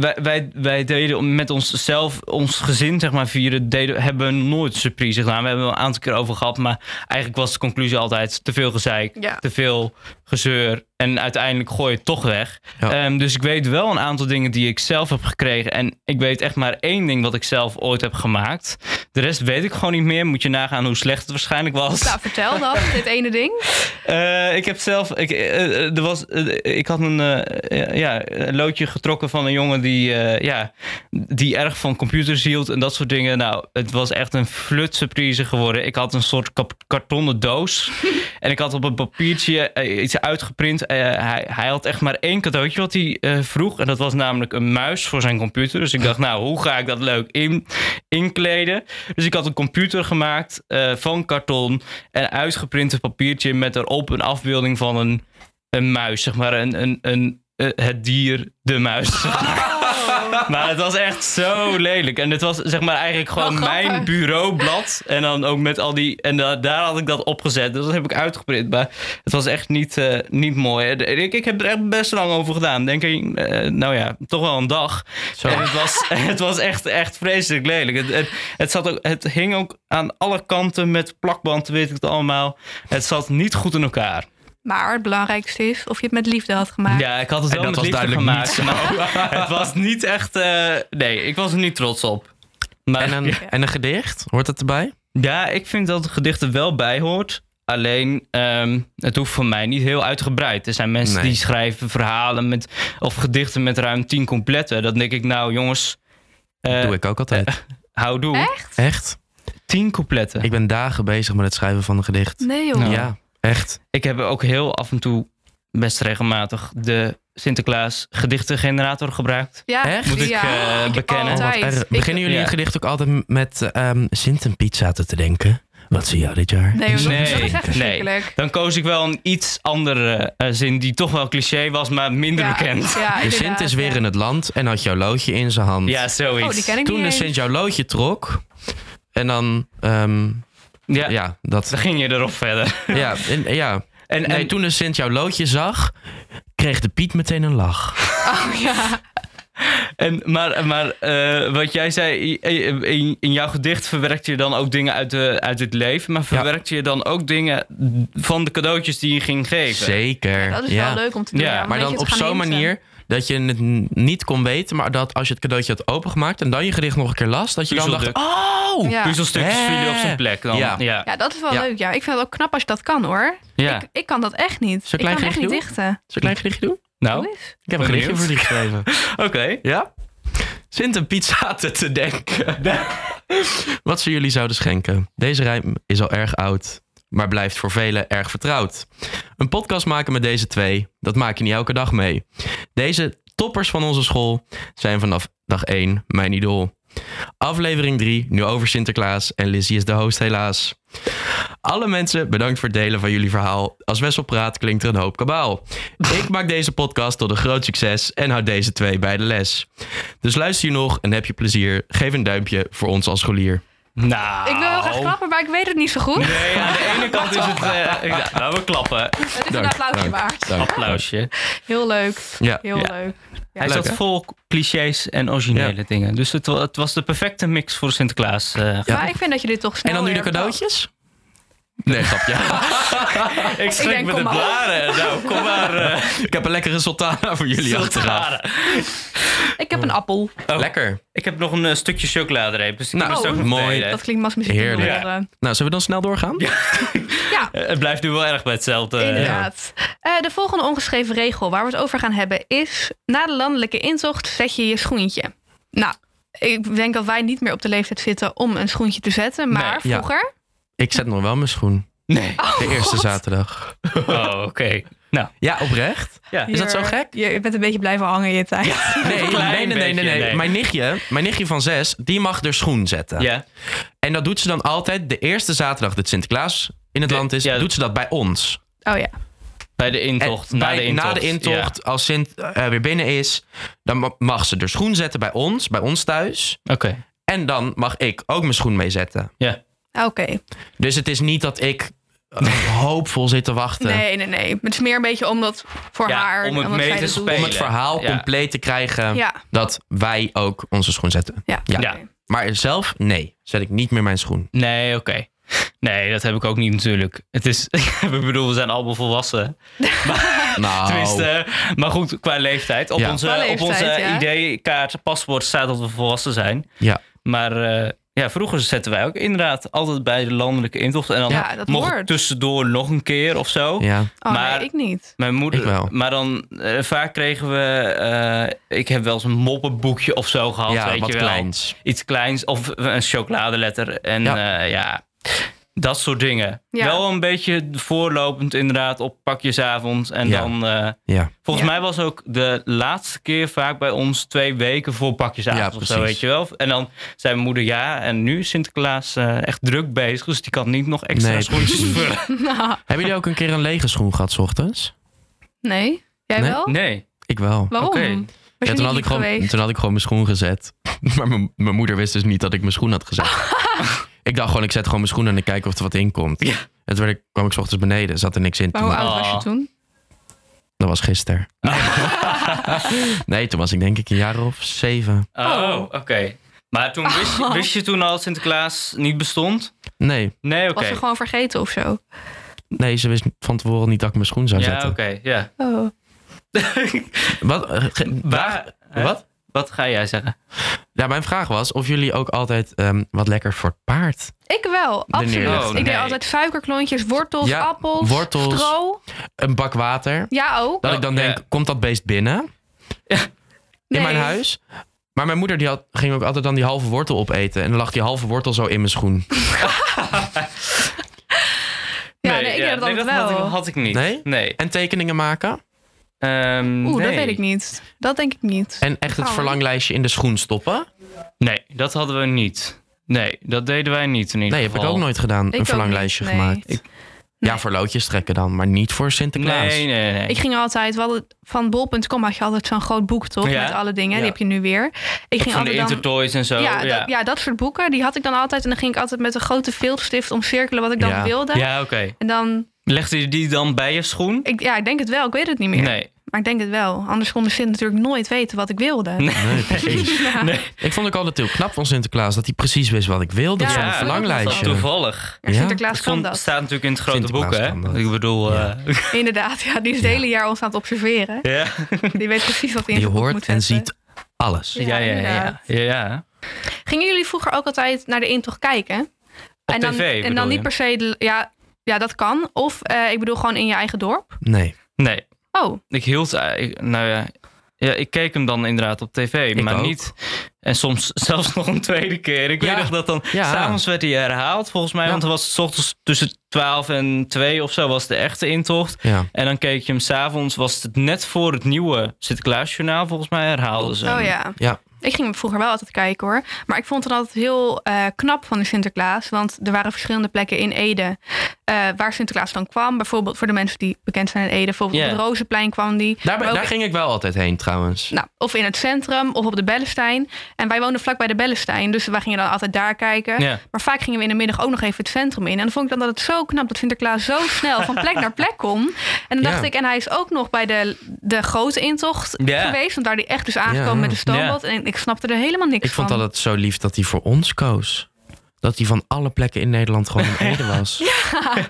[SPEAKER 2] wij, wij, wij deden met onszelf, ons gezin zeg maar vieren, deden, hebben we nooit surprise gedaan. We hebben er een aantal keer over gehad, maar eigenlijk was de conclusie altijd te veel gezeik,
[SPEAKER 1] Ja.
[SPEAKER 2] te veel gezeur en uiteindelijk gooi je het toch weg.
[SPEAKER 3] Ja.
[SPEAKER 2] Ehm, dus ik weet wel een aantal dingen die ik zelf heb gekregen en ik weet echt maar één ding wat ik zelf ooit heb gemaakt. De rest weet ik gewoon niet meer. Moet je nagaan hoe slecht het waarschijnlijk was.
[SPEAKER 1] Nou, vertel dan, dit ene ding.
[SPEAKER 2] Eh, ik heb zelf. Ik, eh, eh, er was, eh, ik had een, eh, eh, ja, een loodje getrokken van een jongen die, eh, ja, die erg van computers hield en dat soort dingen. Nou, het was echt een flut surprise geworden. Ik had een soort kap- kartonnen doos. en ik had op een papiertje eh, iets kaartje uitgeprint. Eh, hij, hij had echt maar één cadeautje wat hij eh, vroeg. En dat was namelijk een muis voor zijn computer. Dus ik dacht, nou, hoe ga ik dat leuk in, inkleden? Dus ik had een computer gemaakt eh, van karton. En uitgeprint een papiertje met erop een afbeelding van een, een muis. Zeg maar een, een, een, eh, het dier, de muis.
[SPEAKER 1] Oh.
[SPEAKER 2] Maar het was echt zo lelijk. En het was zeg maar eigenlijk gewoon
[SPEAKER 1] Wel grappig.
[SPEAKER 2] mijn bureaublad. En dan ook met al die. En da- daar had ik dat opgezet. Dus dat heb ik uitgeprint. Maar het was echt niet, eh, niet mooi. En Ik, ik heb er echt best lang over gedaan. Denk ik, eh, nou ja, toch wel een dag.
[SPEAKER 3] Zo.
[SPEAKER 2] En het was, het was echt, echt vreselijk lelijk. Het, het, het, zat ook, het hing ook aan alle kanten met plakband, weet ik het allemaal. Het zat niet goed in elkaar.
[SPEAKER 1] Maar het belangrijkste is of je het met liefde had gemaakt.
[SPEAKER 2] Ja, ik had het
[SPEAKER 3] En
[SPEAKER 2] wel
[SPEAKER 3] dat
[SPEAKER 2] met
[SPEAKER 3] was
[SPEAKER 2] liefde
[SPEAKER 3] duidelijk
[SPEAKER 2] gemaakt. maar het was niet echt... eh, nee, ik was er niet trots op. Maar
[SPEAKER 3] En een, en een gedicht, hoort dat erbij?
[SPEAKER 2] ja, ik vind dat het gedicht er wel bij hoort. Alleen, ehm, het hoeft voor mij niet heel uitgebreid. Er zijn mensen
[SPEAKER 3] Nee.
[SPEAKER 2] die schrijven verhalen met, of gedichten met ruim tien completten. Dan denk ik, nou jongens, eh,
[SPEAKER 3] Doe ik ook altijd.
[SPEAKER 2] hou doe.
[SPEAKER 1] Echt?
[SPEAKER 3] Echt?
[SPEAKER 2] Tien completten.
[SPEAKER 3] Ik ben dagen bezig met het schrijven van een gedicht.
[SPEAKER 1] Nee joh.
[SPEAKER 2] Nou.
[SPEAKER 3] Ja, echt.
[SPEAKER 2] Ik heb ook heel af en toe, best regelmatig, de Sinterklaas gedichtengenerator gebruikt.
[SPEAKER 1] Ja,
[SPEAKER 3] Echt? Moet
[SPEAKER 2] ik,
[SPEAKER 1] ja,
[SPEAKER 2] eh, bekennen?
[SPEAKER 3] Oh, wat
[SPEAKER 1] altijd.
[SPEAKER 3] erg.
[SPEAKER 1] Ik-
[SPEAKER 3] Beginnen jullie
[SPEAKER 2] ja.
[SPEAKER 3] een gedicht ook altijd met ehm Sint en Piet zaten te denken? Wat zie jou dit jaar?
[SPEAKER 1] Nee, joh, dat
[SPEAKER 2] Nee,
[SPEAKER 1] is echt
[SPEAKER 2] nee.
[SPEAKER 1] verschrikkelijk.
[SPEAKER 2] Dan koos ik wel een iets andere eh, zin die toch wel cliché was, maar minder
[SPEAKER 1] Ja,
[SPEAKER 2] bekend.
[SPEAKER 1] Ja,
[SPEAKER 3] De Sint
[SPEAKER 1] inderdaad,
[SPEAKER 3] is weer
[SPEAKER 1] ja.
[SPEAKER 3] in het land en had jouw loodje in zijn hand.
[SPEAKER 2] Ja, zoiets.
[SPEAKER 1] Oh, die ken ik
[SPEAKER 3] Toen
[SPEAKER 1] niet
[SPEAKER 3] de
[SPEAKER 1] eens.
[SPEAKER 3] Sint jouw loodje trok. En dan, ehm,
[SPEAKER 2] Ja,
[SPEAKER 3] ja. dat.
[SPEAKER 2] dan ging je erop verder.
[SPEAKER 3] Ja, en, ja.
[SPEAKER 2] En,
[SPEAKER 3] Nee,
[SPEAKER 2] en
[SPEAKER 3] toen de Sint jouw loodje zag, kreeg de Piet meteen een lach.
[SPEAKER 1] Oh, ja.
[SPEAKER 2] En, maar maar eh, wat jij zei, in, in jouw gedicht verwerkt je dan ook dingen uit, de, uit het leven. Maar verwerkt je dan ook dingen van de cadeautjes die je ging geven?
[SPEAKER 3] Zeker.
[SPEAKER 1] Dat is
[SPEAKER 3] ja.
[SPEAKER 1] wel leuk om te doen.
[SPEAKER 2] Ja,
[SPEAKER 1] Ja,
[SPEAKER 2] maar
[SPEAKER 1] om
[SPEAKER 3] Maar
[SPEAKER 1] een
[SPEAKER 3] dan op
[SPEAKER 1] beetje te
[SPEAKER 3] zo'n
[SPEAKER 1] gaan hinten.
[SPEAKER 3] manier dat je het n- niet kon weten, maar dat als je het cadeautje had opengemaakt en dan je gedicht nog een keer las, dat je dan dacht:
[SPEAKER 2] Puzzelstuk.
[SPEAKER 3] Oh!
[SPEAKER 1] Ja.
[SPEAKER 2] Puzzelstukjes
[SPEAKER 3] Hè?
[SPEAKER 2] vielen op zijn plek dan.
[SPEAKER 3] Ja.
[SPEAKER 2] Ja. Ja.
[SPEAKER 1] Ja, dat is wel
[SPEAKER 3] Ja.
[SPEAKER 1] leuk. Ja, ik vind het ook knap als je dat kan hoor.
[SPEAKER 2] Ja.
[SPEAKER 1] Ik, ik kan dat echt niet.
[SPEAKER 3] Zo'n
[SPEAKER 1] ik kan
[SPEAKER 3] klein
[SPEAKER 1] echt niet
[SPEAKER 3] gedichtje
[SPEAKER 1] dichten.
[SPEAKER 3] Zal ik een klein gedichtje doen?
[SPEAKER 2] Nou,
[SPEAKER 1] Doe eens.
[SPEAKER 3] Ik heb
[SPEAKER 2] Ben
[SPEAKER 3] een gedichtje
[SPEAKER 2] benieuwd.
[SPEAKER 3] voor jullie geschreven.
[SPEAKER 2] oké.
[SPEAKER 3] Ja? Sint en Piet zaten te denken. Wat ze jullie zouden schenken. Deze rijm is al erg oud, maar blijft voor velen erg vertrouwd. Een podcast maken met deze twee, dat maak je niet elke dag mee. Deze toppers van onze school zijn vanaf dag 1 mijn idool. Aflevering 3, nu over Sinterklaas en Lizzie is de host helaas. Alle mensen, bedankt voor het delen van jullie verhaal. Als Wessel praat, klinkt er een hoop kabaal. Ik maak deze podcast tot een groot succes en houd deze twee bij de les. Dus luister je nog en heb je plezier. Geef een duimpje voor ons als scholier.
[SPEAKER 2] Nou.
[SPEAKER 1] Ik wil heel graag klappen, maar ik weet het niet zo goed.
[SPEAKER 2] Nee, aan de ene kant is het... eh, ja, nou, we klappen.
[SPEAKER 1] Het is een
[SPEAKER 3] Dank,
[SPEAKER 1] applausje
[SPEAKER 3] dank,
[SPEAKER 1] waard.
[SPEAKER 3] dank.
[SPEAKER 2] Applausje.
[SPEAKER 1] Heel leuk.
[SPEAKER 3] Ja,
[SPEAKER 1] Heel
[SPEAKER 2] Ja.
[SPEAKER 1] leuk. Ja.
[SPEAKER 2] Hij
[SPEAKER 3] Leuk,
[SPEAKER 2] zat
[SPEAKER 3] hè?
[SPEAKER 2] vol clichés en originele
[SPEAKER 3] Ja.
[SPEAKER 2] dingen. Dus het, wa- het was de perfecte mix voor Sinterklaas. eh.
[SPEAKER 1] Maar ik vind dat je dit toch snel
[SPEAKER 3] En dan nu de
[SPEAKER 1] weer-
[SPEAKER 3] cadeautjes? Nee, grapje.
[SPEAKER 2] ik schrik
[SPEAKER 1] denk,
[SPEAKER 2] met de
[SPEAKER 1] kom maar op.
[SPEAKER 2] blaren. Nou, kom maar. eh,
[SPEAKER 3] Ik heb een lekkere sultana voor jullie achteraf.
[SPEAKER 2] blaren.
[SPEAKER 1] Ik heb een appel.
[SPEAKER 2] Oh.
[SPEAKER 3] Lekker.
[SPEAKER 2] Ik heb nog een eh, stukje chocoladereep, dus ik
[SPEAKER 3] Nou,
[SPEAKER 2] kan het ook nog
[SPEAKER 3] mooi.
[SPEAKER 2] delen.
[SPEAKER 1] Dat klinkt masmuziek.
[SPEAKER 3] Heerlijk.
[SPEAKER 1] Ja,
[SPEAKER 3] Nou, zullen we dan snel doorgaan?
[SPEAKER 1] ja
[SPEAKER 2] Eh, Het blijft nu wel erg bij hetzelfde. eh.
[SPEAKER 1] inderdaad. Eh, de volgende ongeschreven regel waar we het over gaan hebben is... na de landelijke intocht zet je je schoentje. Nou, ik denk dat wij niet meer op de leeftijd zitten om een schoentje te zetten. Maar
[SPEAKER 3] Nee, ja.
[SPEAKER 1] vroeger...
[SPEAKER 3] Ik zet nog wel mijn schoen.
[SPEAKER 2] Nee.
[SPEAKER 3] De eerste zaterdag.
[SPEAKER 2] Oh, oké. Nou,
[SPEAKER 3] Ja, oprecht?
[SPEAKER 2] ja.
[SPEAKER 3] Is dat zo
[SPEAKER 1] Hier-
[SPEAKER 3] gek?
[SPEAKER 1] Je, je bent een beetje blijven hangen in je tijd.
[SPEAKER 3] Nee, nee,
[SPEAKER 2] klein
[SPEAKER 3] nee, nee, nee,
[SPEAKER 2] beetje,
[SPEAKER 3] nee.
[SPEAKER 2] nee.
[SPEAKER 3] Mijn, nichtje, mijn nichtje van zes, die mag haar schoen zetten.
[SPEAKER 2] Ja.
[SPEAKER 3] En dat doet ze dan altijd de eerste zaterdag dat Sinterklaas in het
[SPEAKER 2] De-
[SPEAKER 3] land is.
[SPEAKER 2] ja.
[SPEAKER 3] doet ze dat bij ons.
[SPEAKER 1] Oh ja.
[SPEAKER 2] Bij de
[SPEAKER 3] En
[SPEAKER 2] intocht. na,
[SPEAKER 3] bij-
[SPEAKER 2] de intocht.
[SPEAKER 3] intocht, als Sint eh, weer binnen is, dan ma- mag ze haar schoen zetten bij ons, bij ons thuis.
[SPEAKER 2] Ja. Oké.
[SPEAKER 3] En dan mag ik ook mijn schoen meezetten.
[SPEAKER 2] Ja.
[SPEAKER 1] Oké.
[SPEAKER 3] Dus het is niet dat ik eh, hoopvol zit te wachten.
[SPEAKER 1] Nee, nee, nee. Het is meer een beetje omdat voor
[SPEAKER 2] Ja,
[SPEAKER 1] haar.
[SPEAKER 2] om het
[SPEAKER 1] omdat
[SPEAKER 2] mee
[SPEAKER 1] zij
[SPEAKER 2] te
[SPEAKER 1] dat doet.
[SPEAKER 2] spelen.
[SPEAKER 3] eh? Om het verhaal
[SPEAKER 2] Ja.
[SPEAKER 3] compleet te krijgen
[SPEAKER 1] Ja,
[SPEAKER 3] dat wij ook onze schoen zetten.
[SPEAKER 1] ja.
[SPEAKER 3] Ja.
[SPEAKER 2] Ja.
[SPEAKER 1] oké.
[SPEAKER 3] Maar zelf, nee, zet ik niet meer mijn schoen.
[SPEAKER 2] Nee, oké. Nee, dat heb ik ook niet natuurlijk. Het is, ik bedoel, we zijn allemaal volwassen.
[SPEAKER 3] Nou,
[SPEAKER 2] Tenminste, eh, maar goed, qua leeftijd. Op
[SPEAKER 3] Ja.
[SPEAKER 2] onze,
[SPEAKER 1] Qua
[SPEAKER 2] op onze
[SPEAKER 1] leeftijd, ja.
[SPEAKER 2] ID-kaart, paspoort staat dat we volwassen zijn.
[SPEAKER 3] Ja.
[SPEAKER 2] Maar eh, ja, vroeger zetten wij ook inderdaad altijd bij de landelijke intocht. En dan
[SPEAKER 1] Ja, dat
[SPEAKER 2] mocht
[SPEAKER 1] hoort.
[SPEAKER 2] het tussendoor nog een keer of zo.
[SPEAKER 3] ja.
[SPEAKER 1] Oh
[SPEAKER 2] Maar-
[SPEAKER 1] nee, ik niet.
[SPEAKER 2] Mijn moeder.
[SPEAKER 3] Ik wel.
[SPEAKER 2] Maar dan eh, vaak kregen we. eh, ik heb wel eens een moppenboekje of zo gehad.
[SPEAKER 3] ja,
[SPEAKER 2] weet
[SPEAKER 3] wat
[SPEAKER 2] je wel.
[SPEAKER 3] kleins.
[SPEAKER 2] Iets kleins. Of een chocoladeletter. En eh,
[SPEAKER 3] Ja.
[SPEAKER 2] ja. ja. Dat soort dingen.
[SPEAKER 1] Ja.
[SPEAKER 2] Wel een beetje voorlopend inderdaad op pakjesavond. En
[SPEAKER 3] Ja.
[SPEAKER 2] dan, eh,
[SPEAKER 3] Ja.
[SPEAKER 2] volgens
[SPEAKER 1] Ja.
[SPEAKER 2] mij was ook de laatste keer vaak bij ons twee weken voor pakjesavond
[SPEAKER 3] Ja,
[SPEAKER 2] of zo,
[SPEAKER 3] precies.
[SPEAKER 2] weet je wel. En dan zei mijn moeder ja, en nu is Sinterklaas eh, echt druk bezig. Dus die kan niet nog extra
[SPEAKER 3] Nee,
[SPEAKER 2] schoentjes
[SPEAKER 3] precies.
[SPEAKER 2] vullen.
[SPEAKER 3] Hebben jullie ook een keer een lege schoen gehad, 's ochtends?
[SPEAKER 1] nee? Jij
[SPEAKER 3] Nee?
[SPEAKER 1] wel?
[SPEAKER 2] Nee.
[SPEAKER 3] Ik wel.
[SPEAKER 1] Waarom?
[SPEAKER 2] Oké.
[SPEAKER 1] Was
[SPEAKER 3] Ja,
[SPEAKER 1] je
[SPEAKER 3] toen,
[SPEAKER 1] niet
[SPEAKER 3] had ik
[SPEAKER 1] lief
[SPEAKER 3] gewoon,
[SPEAKER 1] geweest?
[SPEAKER 3] toen had ik gewoon mijn schoen gezet. Maar mijn- mijn moeder wist dus niet dat ik mijn schoen had gezet. ik dacht gewoon, ik zet gewoon mijn schoen en ik kijk of er wat in komt.
[SPEAKER 2] Ja.
[SPEAKER 3] En toen werd ik, kwam ik 's ochtends beneden, zat er niks in.
[SPEAKER 1] Maar
[SPEAKER 3] Toen
[SPEAKER 1] hoe
[SPEAKER 3] wa-
[SPEAKER 1] oud was je
[SPEAKER 2] Ah.
[SPEAKER 1] toen?
[SPEAKER 3] dat was gisteren. nee, toen was ik denk ik een jaar of zeven.
[SPEAKER 2] Oh,
[SPEAKER 1] Oh.
[SPEAKER 2] oké. Maar toen wist, je- wist je toen al dat Sinterklaas niet bestond?
[SPEAKER 3] Nee,
[SPEAKER 2] Nee, oké.
[SPEAKER 1] Was je gewoon vergeten of zo?
[SPEAKER 3] nee, ze wist van tevoren niet dat ik mijn schoen zou
[SPEAKER 2] Ja, oké,
[SPEAKER 3] zetten.
[SPEAKER 2] ja.
[SPEAKER 1] Oh.
[SPEAKER 3] Wat, eh, ge-
[SPEAKER 2] Waar, hè?
[SPEAKER 3] wat?
[SPEAKER 2] Wat ga jij zeggen?
[SPEAKER 3] Ja, mijn vraag was of jullie ook altijd ehm, wat lekker voor het paard.
[SPEAKER 1] Ik wel, absoluut.
[SPEAKER 3] neerleggen.
[SPEAKER 2] Oh,
[SPEAKER 1] Ik deed
[SPEAKER 2] nee.
[SPEAKER 1] altijd suikerklontjes, wortels,
[SPEAKER 3] Ja,
[SPEAKER 1] appels,
[SPEAKER 3] wortels.
[SPEAKER 1] stro.
[SPEAKER 3] Een bak water.
[SPEAKER 1] Ja, ook.
[SPEAKER 3] Dat
[SPEAKER 2] Oh,
[SPEAKER 3] ik dan
[SPEAKER 2] ja.
[SPEAKER 3] denk, komt dat beest binnen
[SPEAKER 1] Nee.
[SPEAKER 3] in mijn huis? Maar mijn moeder die had, ging ook altijd dan die halve wortel opeten. En dan lag die halve wortel zo in mijn schoen.
[SPEAKER 1] Ja, nee, ik deed dat altijd
[SPEAKER 2] had ik,
[SPEAKER 1] wel.
[SPEAKER 2] had ik niet.
[SPEAKER 3] Nee?
[SPEAKER 2] Nee.
[SPEAKER 3] En tekeningen maken.
[SPEAKER 2] Ehm,
[SPEAKER 1] Oeh, dat
[SPEAKER 2] nee.
[SPEAKER 1] weet ik niet. Dat denk ik niet.
[SPEAKER 3] En echt het
[SPEAKER 1] Oh.
[SPEAKER 3] verlanglijstje in de schoen stoppen.
[SPEAKER 2] Nee, dat hadden we niet. Nee, dat deden wij niet in ieder
[SPEAKER 3] Nee, heb
[SPEAKER 2] geval.
[SPEAKER 3] ik ook nooit gedaan.
[SPEAKER 1] Ik
[SPEAKER 3] een
[SPEAKER 1] ook
[SPEAKER 3] verlanglijstje
[SPEAKER 1] niet, nee.
[SPEAKER 3] gemaakt.
[SPEAKER 1] Ik-
[SPEAKER 3] Ja, voor loodjes trekken dan. Maar niet voor Sinterklaas.
[SPEAKER 2] Nee, nee, nee.
[SPEAKER 1] Ik ging altijd, we hadden- van bol.com had je altijd zo'n groot boek, toch?
[SPEAKER 2] Ja.
[SPEAKER 1] Met alle dingen,
[SPEAKER 2] Ja.
[SPEAKER 1] die heb je nu weer. Ik
[SPEAKER 2] Ook
[SPEAKER 1] ging
[SPEAKER 2] van de
[SPEAKER 1] altijd dan...
[SPEAKER 2] Intertoys en zo.
[SPEAKER 1] ja,
[SPEAKER 2] Ja,
[SPEAKER 1] Dat, ja, dat soort boeken, die had ik dan altijd. En dan ging ik altijd met een grote viltstift omcirkelen wat ik dan
[SPEAKER 3] Ja.
[SPEAKER 1] wilde.
[SPEAKER 2] Ja, oké.
[SPEAKER 1] En dan,
[SPEAKER 2] Legde je die dan bij je schoen?
[SPEAKER 1] ik, ja, ik denk het wel, ik weet het niet meer.
[SPEAKER 2] Nee.
[SPEAKER 1] Maar ik denk het wel. Anders kon de Sint natuurlijk nooit weten wat ik wilde.
[SPEAKER 2] Nee.
[SPEAKER 3] Nee, precies.
[SPEAKER 1] Ja.
[SPEAKER 2] Nee.
[SPEAKER 3] Ik vond ook altijd heel knap van Sinterklaas dat hij precies wist wat ik wilde.
[SPEAKER 1] Ja,
[SPEAKER 3] Zo'n
[SPEAKER 1] dat
[SPEAKER 3] verlanglijstje.
[SPEAKER 2] Dat toevallig.
[SPEAKER 1] Ja,
[SPEAKER 3] Ja.
[SPEAKER 1] Sinterklaas kan
[SPEAKER 2] Stond-
[SPEAKER 1] dat.
[SPEAKER 2] staat natuurlijk in het grote boek,
[SPEAKER 3] Sinterklaas
[SPEAKER 2] hè?
[SPEAKER 3] kan dat.
[SPEAKER 2] Ik bedoel,
[SPEAKER 3] Ja.
[SPEAKER 2] eh,
[SPEAKER 1] Inderdaad, ja, die is het
[SPEAKER 3] Ja.
[SPEAKER 1] hele jaar ons aan het observeren.
[SPEAKER 2] ja.
[SPEAKER 1] Die weet precies wat hij in
[SPEAKER 3] Die
[SPEAKER 1] zijn boek
[SPEAKER 3] hoort
[SPEAKER 1] moet
[SPEAKER 3] en
[SPEAKER 1] zetten.
[SPEAKER 3] ziet alles.
[SPEAKER 2] Ja, ja, ja. ja,
[SPEAKER 1] inderdaad.
[SPEAKER 2] ja, ja.
[SPEAKER 1] Gingen jullie vroeger ook altijd naar de intocht kijken?
[SPEAKER 2] Op
[SPEAKER 1] en dan,
[SPEAKER 2] tv
[SPEAKER 1] en
[SPEAKER 2] bedoel
[SPEAKER 1] dan niet
[SPEAKER 2] je?
[SPEAKER 1] per se, de- ja, ja, dat kan. Of eh, ik bedoel gewoon in je eigen dorp.
[SPEAKER 3] Nee,
[SPEAKER 2] Nee,
[SPEAKER 1] Oh,
[SPEAKER 2] ik hield... eh, ik- Nou ja, ja, ik keek hem dan inderdaad op tv,
[SPEAKER 3] Ik
[SPEAKER 2] maar
[SPEAKER 3] ook.
[SPEAKER 2] niet... En soms zelfs nog een tweede keer. Ik
[SPEAKER 3] Ja.
[SPEAKER 2] weet nog dat dan...
[SPEAKER 3] Ja.
[SPEAKER 2] S'avonds werd hij herhaald, volgens mij.
[SPEAKER 3] Ja.
[SPEAKER 2] Want dan was het 's ochtends tussen 12 en 2 of zo was de echte intocht.
[SPEAKER 3] ja.
[SPEAKER 2] En dan keek je hem s'avonds, was het net voor het nieuwe Sinterklaasjournaal. Volgens mij herhaalden ze hem.
[SPEAKER 3] Ehm,
[SPEAKER 1] oh ja.
[SPEAKER 3] Ja.
[SPEAKER 1] Ik ging hem vroeger wel altijd kijken hoor. Maar ik vond het altijd heel eh, knap van de Sinterklaas. Want er waren verschillende plekken in Ede eh, waar Sinterklaas dan kwam. Bijvoorbeeld voor de mensen die bekend zijn in Ede. Bijvoorbeeld
[SPEAKER 2] Ja.
[SPEAKER 1] op het Rozenplein kwam die.
[SPEAKER 3] Daar,
[SPEAKER 1] Maar ook-
[SPEAKER 3] daar ging ik wel altijd heen trouwens.
[SPEAKER 1] Nou, of in het centrum of op de Bellestein. En wij woonden vlakbij de Bellestein. Dus wij gingen dan altijd daar kijken.
[SPEAKER 2] Ja.
[SPEAKER 1] Maar vaak gingen we in de middag ook nog even het centrum in. En dan vond ik dan dat het zo knap dat Sinterklaas zo snel van plek naar plek kon. En dan
[SPEAKER 3] Ja.
[SPEAKER 1] dacht ik, en hij is ook nog bij de, de grote intocht
[SPEAKER 2] Ja.
[SPEAKER 1] geweest. Want daar die echt dus aangekomen
[SPEAKER 3] Ja.
[SPEAKER 1] met de stoomboot. En ik snapte er helemaal niks
[SPEAKER 3] Ik vond
[SPEAKER 1] van.
[SPEAKER 3] altijd zo lief dat hij voor ons koos. Dat hij van alle plekken in Nederland gewoon in Ede was.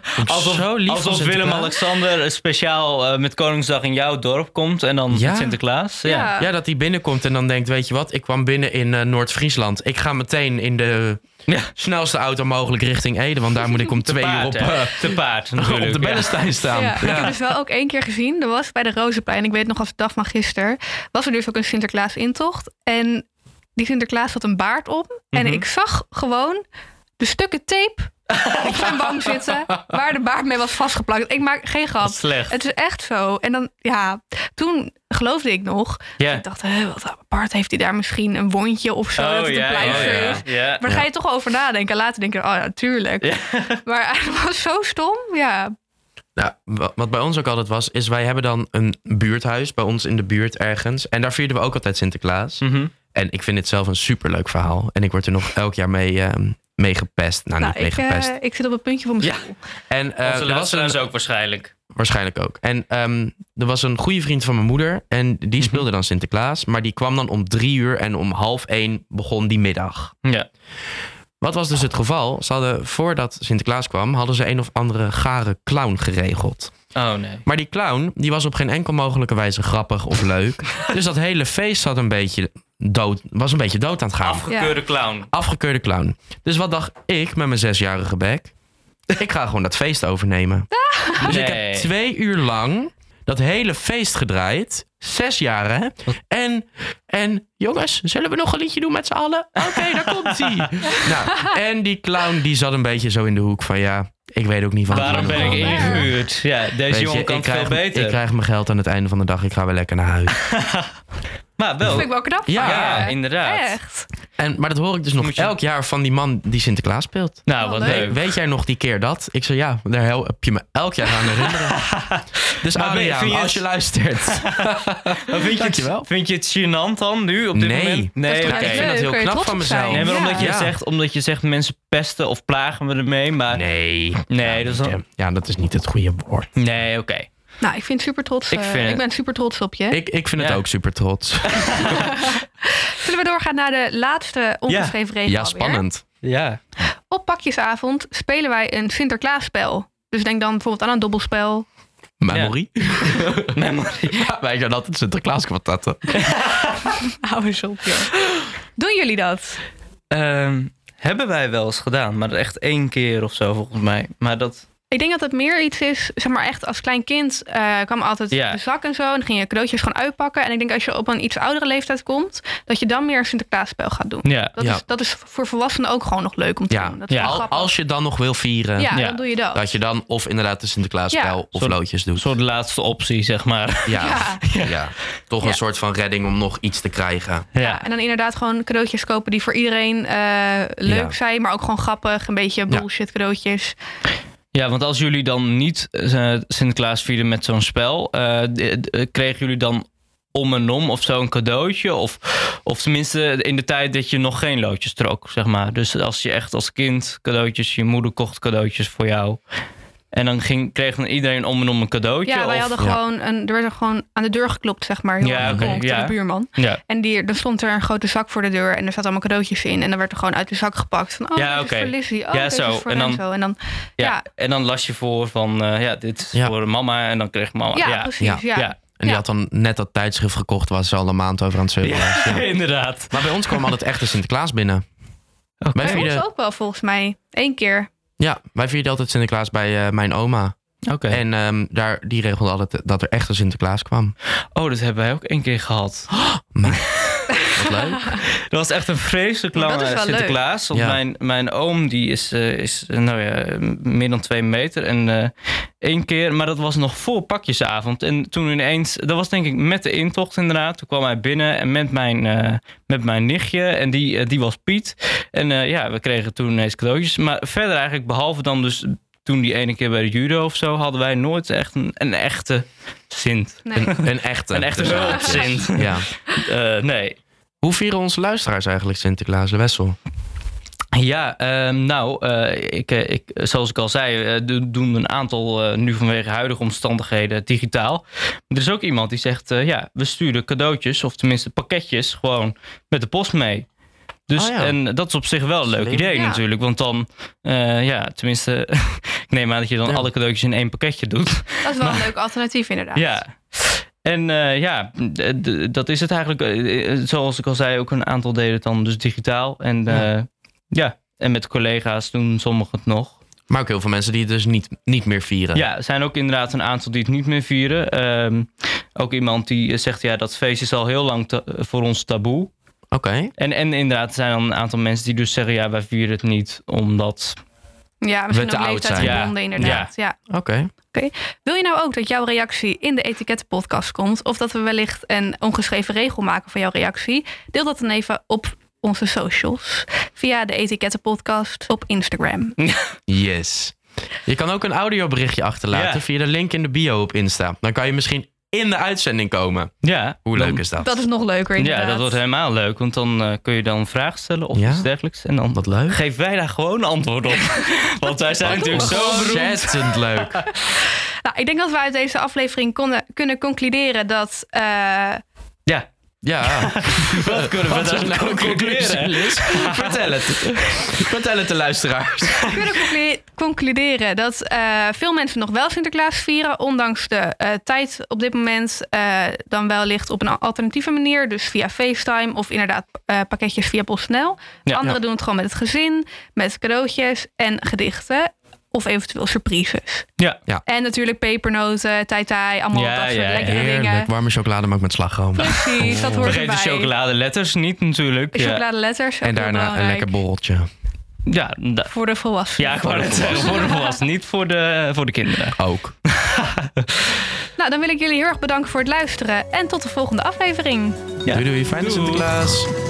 [SPEAKER 3] Vond ik
[SPEAKER 2] Alsof,
[SPEAKER 3] zo lief van
[SPEAKER 2] alsof
[SPEAKER 3] Sinterklaas.
[SPEAKER 2] Willem-Alexander speciaal eh, met Koningsdag in jouw dorp komt. En dan
[SPEAKER 3] Ja.
[SPEAKER 2] met Sinterklaas. Ja.
[SPEAKER 1] Ja.
[SPEAKER 3] Ja, dat hij binnenkomt en dan denkt, weet je wat, ik kwam binnen in eh, Noord-Friesland. Ik ga meteen in de
[SPEAKER 2] Ja.
[SPEAKER 3] snelste auto mogelijk richting Ede, want daar moet ik om
[SPEAKER 2] Te
[SPEAKER 3] twee uur op,
[SPEAKER 2] paard, hè?
[SPEAKER 3] eh,
[SPEAKER 2] Te paard natuurlijk.
[SPEAKER 3] op de
[SPEAKER 2] ja.
[SPEAKER 3] Bellestein staan.
[SPEAKER 1] Ja, Ik heb dus wel ook één keer gezien. Er was bij de Rozenplein, ik weet nog als de dag van gisteren, was er dus ook een Sinterklaas intocht. En die Sinterklaas had een baard om. En
[SPEAKER 2] Mhm.
[SPEAKER 1] ik zag gewoon de stukken tape op zijn wang zitten waar de baard mee was vastgeplakt. Ik maak geen
[SPEAKER 2] Dat
[SPEAKER 1] grap.
[SPEAKER 2] is slecht.
[SPEAKER 1] Het is echt zo. En dan, ja, toen geloofde ik nog.
[SPEAKER 2] ja. Oh,
[SPEAKER 1] Ik dacht, hè, wat apart, heeft hij daar misschien een wondje of zo? dat het een pleister is.
[SPEAKER 2] ja.
[SPEAKER 1] Maar daar ga je toch over nadenken. En later denk je, oh ja, tuurlijk.
[SPEAKER 2] Ja.
[SPEAKER 1] Maar het was zo stom. Ja,
[SPEAKER 3] Nou, wa- wat bij ons ook altijd was, is wij hebben dan een buurthuis bij ons in de buurt ergens. En daar vierden we ook altijd
[SPEAKER 1] Hm.
[SPEAKER 3] Sinterklaas.
[SPEAKER 2] Mhm.
[SPEAKER 3] En ik vind dit zelf een superleuk verhaal. En ik word er nog elk jaar mee, ehm, mee gepest. Nou,
[SPEAKER 1] nou,
[SPEAKER 3] niet mee
[SPEAKER 1] ik, eh,
[SPEAKER 3] gepest.
[SPEAKER 1] ik zit op het puntje van mijn
[SPEAKER 2] Ja.
[SPEAKER 1] stoel.
[SPEAKER 3] en
[SPEAKER 2] Onze
[SPEAKER 3] eh, er was een,
[SPEAKER 2] luisteraars ook waarschijnlijk.
[SPEAKER 3] waarschijnlijk ook. En ehm, er was een goede vriend van mijn moeder. En
[SPEAKER 1] Mhm.
[SPEAKER 3] die speelde dan Sinterklaas. Maar die kwam dan om drie uur en om half één begon die middag.
[SPEAKER 2] Ja.
[SPEAKER 3] Wat was dus het geval? Ze hadden, voordat Sinterklaas kwam, hadden ze een of andere gare clown geregeld.
[SPEAKER 2] Oh nee.
[SPEAKER 3] Maar die clown, die was op geen enkel mogelijke wijze grappig of leuk. dus dat hele feest zat een beetje dood, was een beetje dood aan het gaan.
[SPEAKER 2] Afgekeurde clown.
[SPEAKER 3] Afgekeurde clown. Dus wat dacht ik met mijn zesjarige bek? Ik ga gewoon dat feest overnemen. Dus ik
[SPEAKER 2] Nee.
[SPEAKER 3] heb twee uur lang dat hele feest gedraaid. Zes jaar, hè? En, en jongens, zullen we nog een liedje doen met z'n allen? Oké, daar komt-ie. Nou, en die clown die zat een beetje zo in de hoek van... ja, ik weet ook niet van...
[SPEAKER 2] Waarom ben ik
[SPEAKER 1] wel.
[SPEAKER 2] ingehuurd? Ja, deze jongen kan
[SPEAKER 3] eh, ik
[SPEAKER 2] het
[SPEAKER 3] krijg,
[SPEAKER 2] veel beter.
[SPEAKER 3] Ik krijg mijn geld aan het einde van de dag. Ik ga weer lekker naar huis.
[SPEAKER 2] maar
[SPEAKER 1] Dat
[SPEAKER 2] wel.
[SPEAKER 1] vind ik wel knap.
[SPEAKER 3] Ja,
[SPEAKER 1] van je.
[SPEAKER 2] Ja, inderdaad.
[SPEAKER 1] Echt.
[SPEAKER 3] En, maar dat hoor ik dus nog
[SPEAKER 2] Moet je-
[SPEAKER 3] elk jaar van die man die Sinterklaas speelt.
[SPEAKER 2] Nou, wat
[SPEAKER 1] Wel leuk.
[SPEAKER 2] leuk.
[SPEAKER 3] Hey, weet jij nog die keer dat? Ik zei ja, daar help je me elk jaar aan herinneren. dus
[SPEAKER 2] Maar ben je-
[SPEAKER 3] Adriaan,
[SPEAKER 2] vind je
[SPEAKER 3] als je
[SPEAKER 2] het-
[SPEAKER 3] luistert.
[SPEAKER 2] Maar vind, je
[SPEAKER 3] Dankjewel.
[SPEAKER 2] het, vind je het gênant dan nu op dit
[SPEAKER 3] Nee.
[SPEAKER 2] moment?
[SPEAKER 1] Dat is
[SPEAKER 2] Nee,
[SPEAKER 1] toch
[SPEAKER 2] oké.
[SPEAKER 1] juist
[SPEAKER 3] Ik vind dat heel
[SPEAKER 1] Kun je
[SPEAKER 3] knap
[SPEAKER 1] trots
[SPEAKER 3] van
[SPEAKER 1] op
[SPEAKER 3] mezelf.
[SPEAKER 1] zijn.
[SPEAKER 2] Nee, maar
[SPEAKER 1] Ja.
[SPEAKER 2] omdat je,
[SPEAKER 3] Ja.
[SPEAKER 2] zegt, omdat je zegt mensen pesten of plagen we ermee. Maar nee,
[SPEAKER 3] Nee.
[SPEAKER 2] dat is dan-
[SPEAKER 3] Ja, dat is niet het goede woord.
[SPEAKER 2] Nee, oké.
[SPEAKER 1] Nou, ik vind super trots.
[SPEAKER 2] Ik
[SPEAKER 1] eh,
[SPEAKER 2] vind-
[SPEAKER 1] ik ben super trots op je.
[SPEAKER 3] Ik, ik vind het
[SPEAKER 2] Ja.
[SPEAKER 3] ook super trots.
[SPEAKER 1] Zullen we doorgaan naar de laatste ongeschreven regel?
[SPEAKER 3] Ja,
[SPEAKER 1] alweer?
[SPEAKER 3] spannend.
[SPEAKER 2] Ja.
[SPEAKER 1] Op pakjesavond spelen wij een Sinterklaasspel. Dus denk dan bijvoorbeeld aan een dobbelspel.
[SPEAKER 3] Maar
[SPEAKER 2] Ja.
[SPEAKER 3] Marie,
[SPEAKER 2] Nee, maar-
[SPEAKER 3] ja, wij gaan altijd Sinterklaas kwartetten.
[SPEAKER 1] Hou eens op, joh. Doen jullie dat?
[SPEAKER 2] Ehm, hebben wij wel eens gedaan, maar echt één keer of zo volgens mij. Maar dat,
[SPEAKER 1] Ik denk dat het meer iets is, zeg maar echt als klein kind eh, kwam altijd
[SPEAKER 2] Ja.
[SPEAKER 1] de zak en zo. En dan ging je cadeautjes gewoon uitpakken. En ik denk als je op een iets oudere leeftijd komt, dat je dan meer een Sinterklaasspel gaat doen.
[SPEAKER 2] ja.
[SPEAKER 1] Dat,
[SPEAKER 3] Ja.
[SPEAKER 1] is, dat is voor volwassenen ook gewoon nog leuk om te
[SPEAKER 3] Ja.
[SPEAKER 1] doen. Dat is
[SPEAKER 2] Ja.
[SPEAKER 1] wel
[SPEAKER 3] Al-
[SPEAKER 1] grappig.
[SPEAKER 3] als je dan nog wil vieren,
[SPEAKER 1] ja,
[SPEAKER 2] Ja.
[SPEAKER 1] dan doe je dat.
[SPEAKER 3] dat je dan of inderdaad de Sinterklaasspel
[SPEAKER 1] Ja.
[SPEAKER 3] of
[SPEAKER 2] Zo'n-
[SPEAKER 3] loodjes doet.
[SPEAKER 2] Een soort laatste optie, zeg maar.
[SPEAKER 3] ja. Ja.
[SPEAKER 1] Ja.
[SPEAKER 3] toch een
[SPEAKER 1] Ja.
[SPEAKER 3] soort van redding om nog iets te krijgen.
[SPEAKER 1] Ja, en dan inderdaad gewoon cadeautjes kopen die voor iedereen eh, leuk
[SPEAKER 3] Ja.
[SPEAKER 1] zijn, maar ook gewoon grappig. Een beetje
[SPEAKER 3] Ja.
[SPEAKER 1] bullshit cadeautjes.
[SPEAKER 2] Ja, want als jullie dan niet eh, Sinterklaas vierden met zo'n spel, eh, d- d- eh, kregen jullie dan om en om of zo een cadeautje? Of, of tenminste in de tijd dat je nog geen loodjes trok, zeg maar. Dus als je echt als kind cadeautjes, je moeder kocht cadeautjes voor jou. En dan ging, kreeg dan iedereen om en om een cadeautje?
[SPEAKER 1] Ja, wij
[SPEAKER 2] of-
[SPEAKER 1] hadden
[SPEAKER 3] ja.
[SPEAKER 1] gewoon een, er werd er gewoon aan de deur geklopt, zeg maar. Heel
[SPEAKER 2] Ja,
[SPEAKER 1] ja,
[SPEAKER 2] oké, ja.
[SPEAKER 1] de buurman.
[SPEAKER 2] Ja,
[SPEAKER 1] En die, dan stond er een grote zak voor de deur en er zaten allemaal cadeautjes in. En dan werd er gewoon uit de zak gepakt van, oh,
[SPEAKER 2] Ja,
[SPEAKER 1] dit
[SPEAKER 2] oké.
[SPEAKER 1] is voor Lizzie, oh,
[SPEAKER 2] Ja,
[SPEAKER 1] dit
[SPEAKER 2] zo.
[SPEAKER 1] is voor
[SPEAKER 2] En dan-
[SPEAKER 1] Renzo. En dan,
[SPEAKER 2] ja.
[SPEAKER 1] ja,
[SPEAKER 2] En dan las je voor van, eh, ja, dit is
[SPEAKER 3] Ja.
[SPEAKER 2] voor mama. En dan kreeg mama.
[SPEAKER 1] ja,
[SPEAKER 2] Oh, ja.
[SPEAKER 1] precies, ja.
[SPEAKER 2] Ja.
[SPEAKER 3] En die
[SPEAKER 1] Ja.
[SPEAKER 3] had dan net dat tijdschrift gekocht waar ze al een maand over aan het zeuren was. Ja.
[SPEAKER 2] inderdaad.
[SPEAKER 3] Maar bij ons kwam altijd echt de Sinterklaas binnen. Wij,
[SPEAKER 1] Bij ons
[SPEAKER 3] vierden,
[SPEAKER 1] ook wel, volgens mij. Eén keer.
[SPEAKER 3] ja, wij vierden altijd Sinterklaas bij eh, mijn oma.
[SPEAKER 2] Oké.
[SPEAKER 3] En ehm, daar, die regelde altijd dat er echt een Sinterklaas kwam.
[SPEAKER 2] Oh, dat hebben wij ook één keer gehad.
[SPEAKER 3] Wat leuk.
[SPEAKER 2] Dat was echt een vreselijk
[SPEAKER 1] Maar
[SPEAKER 2] lange
[SPEAKER 1] dat is wel
[SPEAKER 2] Sinterklaas. Want
[SPEAKER 3] Ja.
[SPEAKER 2] mijn, mijn oom die is, eh, is eh, nou ja, meer dan twee meter. En eh, één keer, maar dat was nog voor pakjesavond. En toen ineens, dat was denk ik met de intocht inderdaad. Toen kwam hij binnen en met mijn, eh, met mijn nichtje. En die, eh, die was Piet. En eh, ja, we kregen toen ineens cadeautjes. Maar verder eigenlijk, behalve dan dus toen die ene keer bij de judo of zo... hadden wij nooit echt een, een echte Sint.
[SPEAKER 1] Nee.
[SPEAKER 3] Een, een echte.
[SPEAKER 2] Een echte
[SPEAKER 3] Dus, eh,
[SPEAKER 2] hulpzint.
[SPEAKER 3] Ja.
[SPEAKER 2] Eh, nee.
[SPEAKER 3] Hoe vieren onze luisteraars eigenlijk Sinterklaas de Wessel?
[SPEAKER 2] Ja, ehm, nou, eh, ik, eh, ik, zoals ik al zei, eh, do- doen een aantal eh, nu vanwege huidige omstandigheden digitaal. Maar er is ook iemand die zegt, eh, ja, we sturen cadeautjes, of tenminste pakketjes, gewoon met de post mee. Dus,
[SPEAKER 3] Oh ja.
[SPEAKER 2] En dat is op zich wel een leuk
[SPEAKER 3] Slim.
[SPEAKER 2] idee
[SPEAKER 1] Ja.
[SPEAKER 2] natuurlijk, want dan, eh, ja, tenminste, ik neem aan dat je dan
[SPEAKER 3] Ja.
[SPEAKER 2] alle cadeautjes in één pakketje doet.
[SPEAKER 1] Dat is wel een leuk alternatief, inderdaad.
[SPEAKER 2] Ja. En eh, ja, d- d- dat is het eigenlijk. Eh, eh, Zoals ik al zei, ook een aantal deden het dan dus digitaal. En
[SPEAKER 3] Ja.
[SPEAKER 2] ja, ja. en met collega's doen sommigen het nog.
[SPEAKER 3] Maar ook heel veel mensen die het dus niet, niet meer vieren.
[SPEAKER 2] Ja, er zijn ook inderdaad een aantal die het niet meer vieren. Ehm, ook iemand die eh, zegt, ja, dat feest is al heel lang ta- voor ons taboe.
[SPEAKER 3] Oké.
[SPEAKER 2] En, en inderdaad, er zijn dan een aantal mensen die dus zeggen, ja, wij vieren het niet omdat...
[SPEAKER 1] Ja, misschien
[SPEAKER 3] te
[SPEAKER 1] ook
[SPEAKER 3] oud
[SPEAKER 1] leeftijdsgebonden,
[SPEAKER 2] zijn. Ja.
[SPEAKER 1] inderdaad. Ja.
[SPEAKER 3] Oké.
[SPEAKER 1] Wil je nou ook dat jouw reactie in de etikettenpodcast komt? Of dat we wellicht een ongeschreven regel maken van jouw reactie? Deel dat dan even op onze socials. Via de etikettenpodcast op Instagram.
[SPEAKER 3] Yes. Je kan ook een audioberichtje achterlaten
[SPEAKER 2] Ja.
[SPEAKER 3] via de link in de bio op Insta. Dan kan je misschien in de uitzending komen.
[SPEAKER 2] Ja,
[SPEAKER 3] Hoe leuk
[SPEAKER 2] dan-
[SPEAKER 3] is dat?
[SPEAKER 1] Dat is nog leuker inderdaad.
[SPEAKER 2] Ja, dat wordt helemaal leuk. Want dan eh, kun je dan vragen stellen of
[SPEAKER 3] Ja.
[SPEAKER 2] iets dergelijks. En dan
[SPEAKER 3] Wat leuk.
[SPEAKER 2] geef wij daar gewoon antwoord op. Want wij zijn natuurlijk zo beroemd.
[SPEAKER 3] Ontzettend leuk.
[SPEAKER 1] nou, ik denk dat we uit deze aflevering konden, kunnen concluderen dat... eh,
[SPEAKER 2] Ja,
[SPEAKER 3] Ja.
[SPEAKER 2] wat kunnen we daar nou concluderen?
[SPEAKER 3] Vertel het. Vertel het de luisteraars.
[SPEAKER 1] we kunnen conclu- concluderen dat eh, veel mensen nog wel Sinterklaas vieren. Ondanks de eh, tijd op dit moment eh, dan wel ligt op een alternatieve manier. Dus via FaceTime of inderdaad eh, pakketjes via PostNL.
[SPEAKER 2] Ja.
[SPEAKER 1] Anderen doen het gewoon met het gezin, met cadeautjes en gedichten. of eventueel surprises.
[SPEAKER 2] Ja.
[SPEAKER 3] Ja.
[SPEAKER 1] En natuurlijk pepernoten, tai tai, allemaal
[SPEAKER 2] Ja,
[SPEAKER 1] dat soort
[SPEAKER 2] ja,
[SPEAKER 1] lekkere dingen.
[SPEAKER 3] Heerlijk, warme chocolademelk met slagroom.
[SPEAKER 1] Precies, dat hoort
[SPEAKER 2] Vergeet de
[SPEAKER 1] erbij.
[SPEAKER 2] chocoladeletters niet natuurlijk.
[SPEAKER 1] De
[SPEAKER 2] Ja,
[SPEAKER 1] chocoladeletters. ook
[SPEAKER 3] En
[SPEAKER 1] heel
[SPEAKER 3] daarna een
[SPEAKER 1] belangrijk.
[SPEAKER 3] lekker borreltje.
[SPEAKER 2] ja, da-
[SPEAKER 1] Voor de volwassenen.
[SPEAKER 2] ja ik wou net zeggen, voor de volwassenen, niet voor de, voor de kinderen.
[SPEAKER 3] Ook.
[SPEAKER 1] Nou, dan wil ik jullie heel erg bedanken voor het luisteren. En tot de volgende aflevering.
[SPEAKER 2] Ja.
[SPEAKER 3] Doei doei, fijne
[SPEAKER 2] Doei.
[SPEAKER 3] Sinterklaas.